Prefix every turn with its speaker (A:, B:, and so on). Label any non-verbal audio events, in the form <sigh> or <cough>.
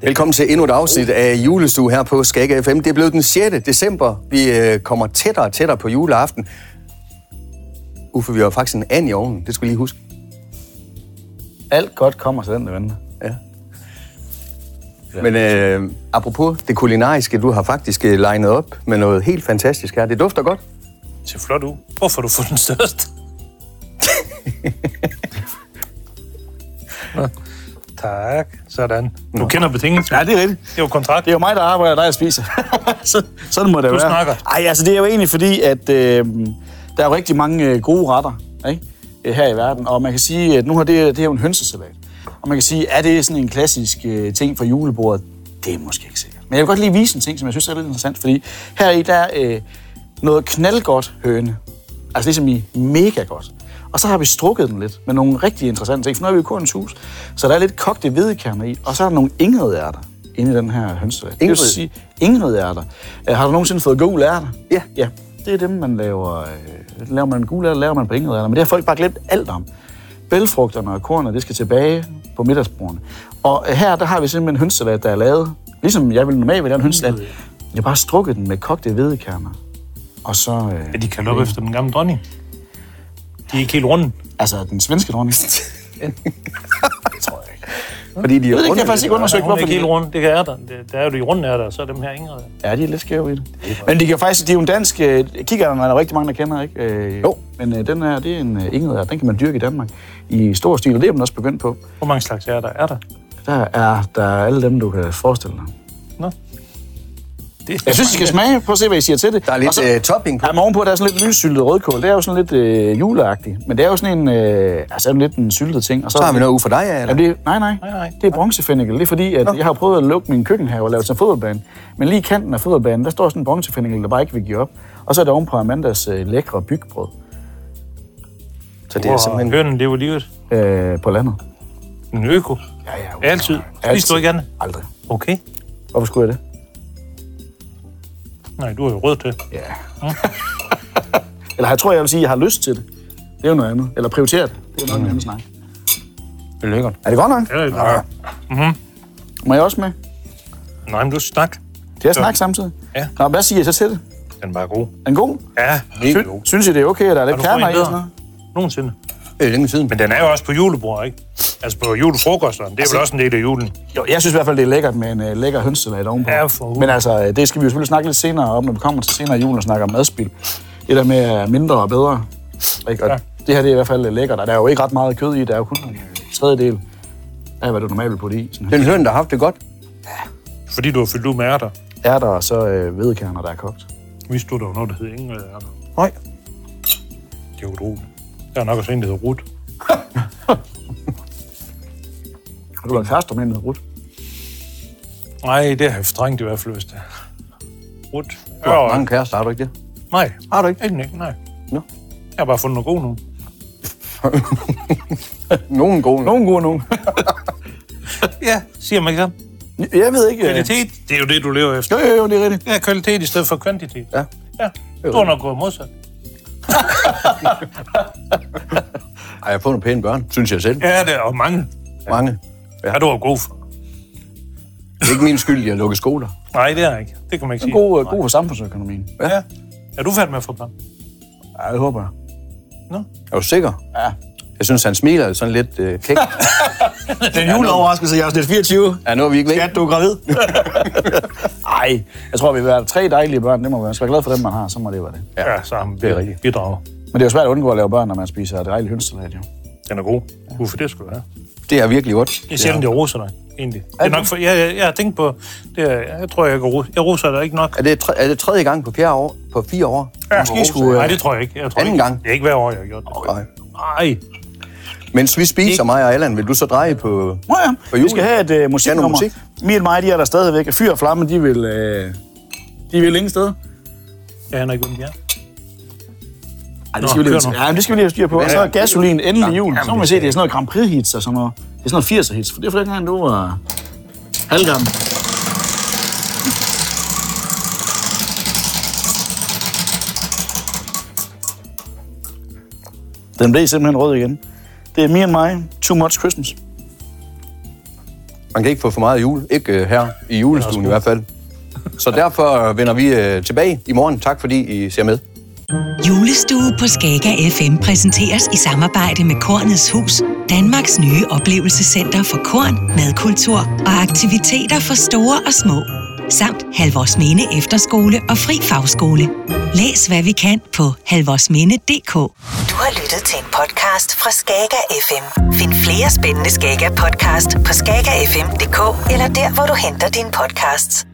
A: Velkommen til endnu et afsnit af Julestue her på Skag FM. Det er blevet den 6. december. Vi øh, kommer tættere og tættere på juleaften. Uffe, vi har faktisk en and i ovnen. Det skulle lige huske.
B: Alt godt kommer til den, der venter.
A: Ja. Men øh, apropos det kulinariske, du har faktisk øh, legnet op med noget helt fantastisk her. Det dufter godt.
C: Det ser flot ud. Hvorfor har du fået den
B: <laughs>
C: største? Nå, tak. Sådan. Du kender betingelsen.
B: Ja, det er rigtigt.
C: Det er jo kontrakt.
B: Det er jo mig, der arbejder, og dig, der spiser. <laughs> Så, sådan må det
C: Du
B: være.
C: snakker.
B: Ej, altså det er jo egentlig fordi, at øh, der er jo rigtig mange øh, gode retter ikke? Øh, her i verden. Og man kan sige, at nu har det, det er jo en hønsesalat. Og man kan sige, er det sådan en klassisk øh, ting fra julebordet? Det er måske ikke sikkert. Men jeg vil godt lige vise en ting, som jeg synes er lidt interessant. Fordi her i, der er øh, noget knaldgodt høne. Altså ligesom i mega godt. Og så har vi strukket den lidt med nogle rigtig interessante ting. For nu er vi i Kurens hus, så der er lidt kogte hvedekerner i. Og så er der nogle ingredærter inde i den her hønsesalat. Det vil
A: Ingrid?
B: sige, ingredærter. Øh, Har du nogensinde fået gule ærter?
A: Ja.
B: Ja, det er dem, man laver. øh, Laver man gule ærter, laver man på ingredærter. Men det har folk bare glemt alt om. Bælfrugterne og kornet, det skal tilbage på middagsbordene. Og øh, her, der har vi simpelthen en hønsesalat, der er lavet. Ligesom jeg ville normalt ville lave en hønsesalat. Jeg har bare strukket den med kogte hvedekerner. Og så...
C: Ja,
B: Øh,
C: de kan lukke efter den gamle dronning. De er ikke helt runde.
B: altså, den svenske <laughs> dronning. det tror jeg ikke.
A: Fordi de
B: Jeg ved
A: runde
B: ikke, jeg har faktisk ikke
C: Så
B: undersøgt,
C: hun er
B: hvorfor
C: ikke
B: de...
C: helt runde. Det kan er der. Det, der er jo de runde er der, og så er dem her ingen der.
B: Ja, de er lidt skæve i det. Men de kan faktisk, de er jo en dansk... øh, Kikærten er der rigtig mange, der kender, ikke? Øh,
A: Jo.
B: Men øh, den her, det er en øh, ingedær. Den kan man dyrke i Danmark i stor stil, og det er man også begyndt på.
C: Hvor mange slags er der? Er der?
B: Der er, der er alle dem, du kan forestille dig.
C: Nå. Det,
B: Jeg synes, I skal smage. Prøv at se, hvad I siger til det.
A: Der er
B: Og
A: lidt
B: så,
A: øh, topping på.
B: Ja, men ovenpå, der er sådan lidt lyssyltet rødkål. Det er jo sådan lidt øh, juleagtigt. Men det er jo sådan en, øh, altså er det lidt en syltet ting. Og så,
A: Så har vi noget ud for dig, ja, eller?
B: Jamen, det, nej, nej,
C: Nej, nej.
B: Det er bronzefennikel. Det er fordi, at jeg har prøvet at lukke min køkkenhave og lave til en fodboldbane. Men lige i kanten af fodboldbanen, der står sådan en bronzefennikel, der bare ikke vil give op. Og så er der ovenpå Amandas øh, lækre bygbrød
A: Så det er simpelthen...
C: Hønen lever livet.
B: øh, på landet.
C: En øko.
B: Ja, ja. Okay.
C: Altid. Spis du ikke andet?
B: Aldrig.
C: Okay.
B: Hvorfor skulle jeg det?
C: Nej, du er jo rød til.
B: Ja. <laughs> Eller jeg tror, jeg vil sige, at jeg har lyst til det. Det er jo noget andet. Eller prioriteret. Det er jo noget andet snak.
A: Det lykker.
B: Er det godt nok?
C: Ja, ja.
B: Ah. Må jeg også med?
C: Nej, men du snak.
B: Det er snak samtidig.
C: Ja.
B: Nå, hvad siger jeg så til det?
C: Den var god.
B: Er den god?
C: Ja,
A: Virkelig god.
B: Sy- synes I, det er okay, at der er lidt
C: Har du
B: kerner
C: fået
B: i og
C: en bedre?
B: sådan noget?
C: nogensinde.
A: Det er længe siden.
C: Men den er jo også på julebord, ikke? Altså på julefrokosterne. Det er altså, vel også en del af julen.
B: Jo, jeg synes i hvert fald, det er lækkert med en uh, lækker hønsesalat ovenpå.
C: Ja, for hulen.
B: Men altså, øh, det skal vi jo selvfølgelig snakke lidt senere om, når vi kommer til senere i julen og snakker om madspil. Det der med øh, mindre og bedre. Ikke? Og ja. Det her det er i hvert fald øh, lækkert, og der er jo ikke ret meget kød i. Der er jo kun en øh, tredjedel af, hvad du normalt vil putte i. Sådan
A: Den høn, der har haft det godt.
C: Fordi du har fyldt ud med ærter.
B: er der så øh, hvedekerner, der er kogt.
C: Vidste du, der var noget, der hed ingen ærter?
A: Nej.
C: Det er jo utroligt. Der er nok også en, der hedder Rut.
B: Har du været kærester med en, der hedder Ruth?
C: Nej, det har jeg strengt i hvert fald lyst til. Rut. Øh,
A: Du har mange kærester, har du ikke det?
C: Nej.
A: Har du ikke?
C: Ikke, nej. nej.
A: Nå.
C: Jeg har bare fundet noget god nu.
A: Nogen gode.
B: Nogen gode, <laughs> nogen.
C: Ja, siger man ikke så.
B: jeg ved ikke. Øh...
C: Kvalitet, det er jo det, du lever efter.
B: Jo, jo, jo, det er rigtigt.
C: Ja, kvalitet i stedet for kvantitet.
A: Ja.
C: Ja, du har nok gået modsat.
A: Ej, jeg har fået nogle pæne børn, synes jeg selv.
C: Ja, det er og mange.
A: Mange.
C: Ja, du er god for.
A: Det er ikke min skyld, jeg lukker skoler.
C: Nej, det er jeg ikke. Det kan man ikke sige.
B: God, øh, god for samfundsøkonomien.
C: Ja. Er du færdig med at få børn?
B: Ja, det håber jeg.
A: Er du sikker?
B: Ja.
A: Jeg synes, han smiler sådan lidt øh, kæk.
B: Den juleoverraskelse i afsnit 24.
A: Ja, nu er vi ikke væk.
B: Skat, du er gravid. <laughs> Ej, jeg tror, vi vil være tre dejlige børn. Det må være. Man skal være glad for dem, man har. Så må det være det.
C: Ja, ja så
A: det er rigtigt.
C: Bidrager.
B: Men det er jo svært at undgå at lave børn, når man spiser dejlig hønsesalat, jo.
C: Den er god. Hvorfor det skulle være?
A: Det er virkelig godt.
C: Det er sjældent, jeg roser dig, egentlig. Det er nok for, jeg, jeg, jeg har tænkt på, det er, jeg tror, jeg, kan rose. jeg roser dig ikke nok.
A: Er det, tre, er det tredje gang på, fjerde år, på fire år?
C: Ja,
A: Måske skulle...
C: Nej,
A: Øh,
C: det tror jeg ikke. Jeg tror
A: anden
C: ikke.
A: gang.
C: Det er ikke hver år, jeg har gjort det.
A: nej.
C: Nej,
A: Mens vi spiser, mig og Allan, vil du så dreje på...
B: Nå ja,
A: For
B: vi
A: julen.
B: skal have et uh, musiknummer.
A: musik.
B: Mie og mig, de er der stadigvæk. Fyr og flamme, de vil, øh, de vil ingen sted.
C: jeg aner ikke, hvem de er.
B: Ej, det skal, vi
C: kør
B: lige,
C: nu.
B: ja, men det skal vi lige have styr på. Og så er gasolin endelig jul. Så må man se, det er sådan noget Grand Prix hits og sådan noget. Det er sådan noget 80'er hits, for det er for dengang, du var halvgammel. Den blev simpelthen rød igen. Det er me and mig, Too Much Christmas.
A: Man kan ikke få for meget jul. Ikke øh, her i julestuen i hvert fald. Så derfor vender vi øh, tilbage i morgen. Tak fordi I ser med.
D: Julestue på Skager FM præsenteres i samarbejde med Kornets Hus, Danmarks nye oplevelsescenter for korn, madkultur og aktiviteter for store og små. Samt Halvorsminde Efterskole og Fri Fagskole. Læs hvad vi kan på halvorsminde.dk.
E: Du har lyttet til en podcast fra Skager FM. Find flere spændende Skager podcast på skagerfm.dk eller der, hvor du henter dine podcasts.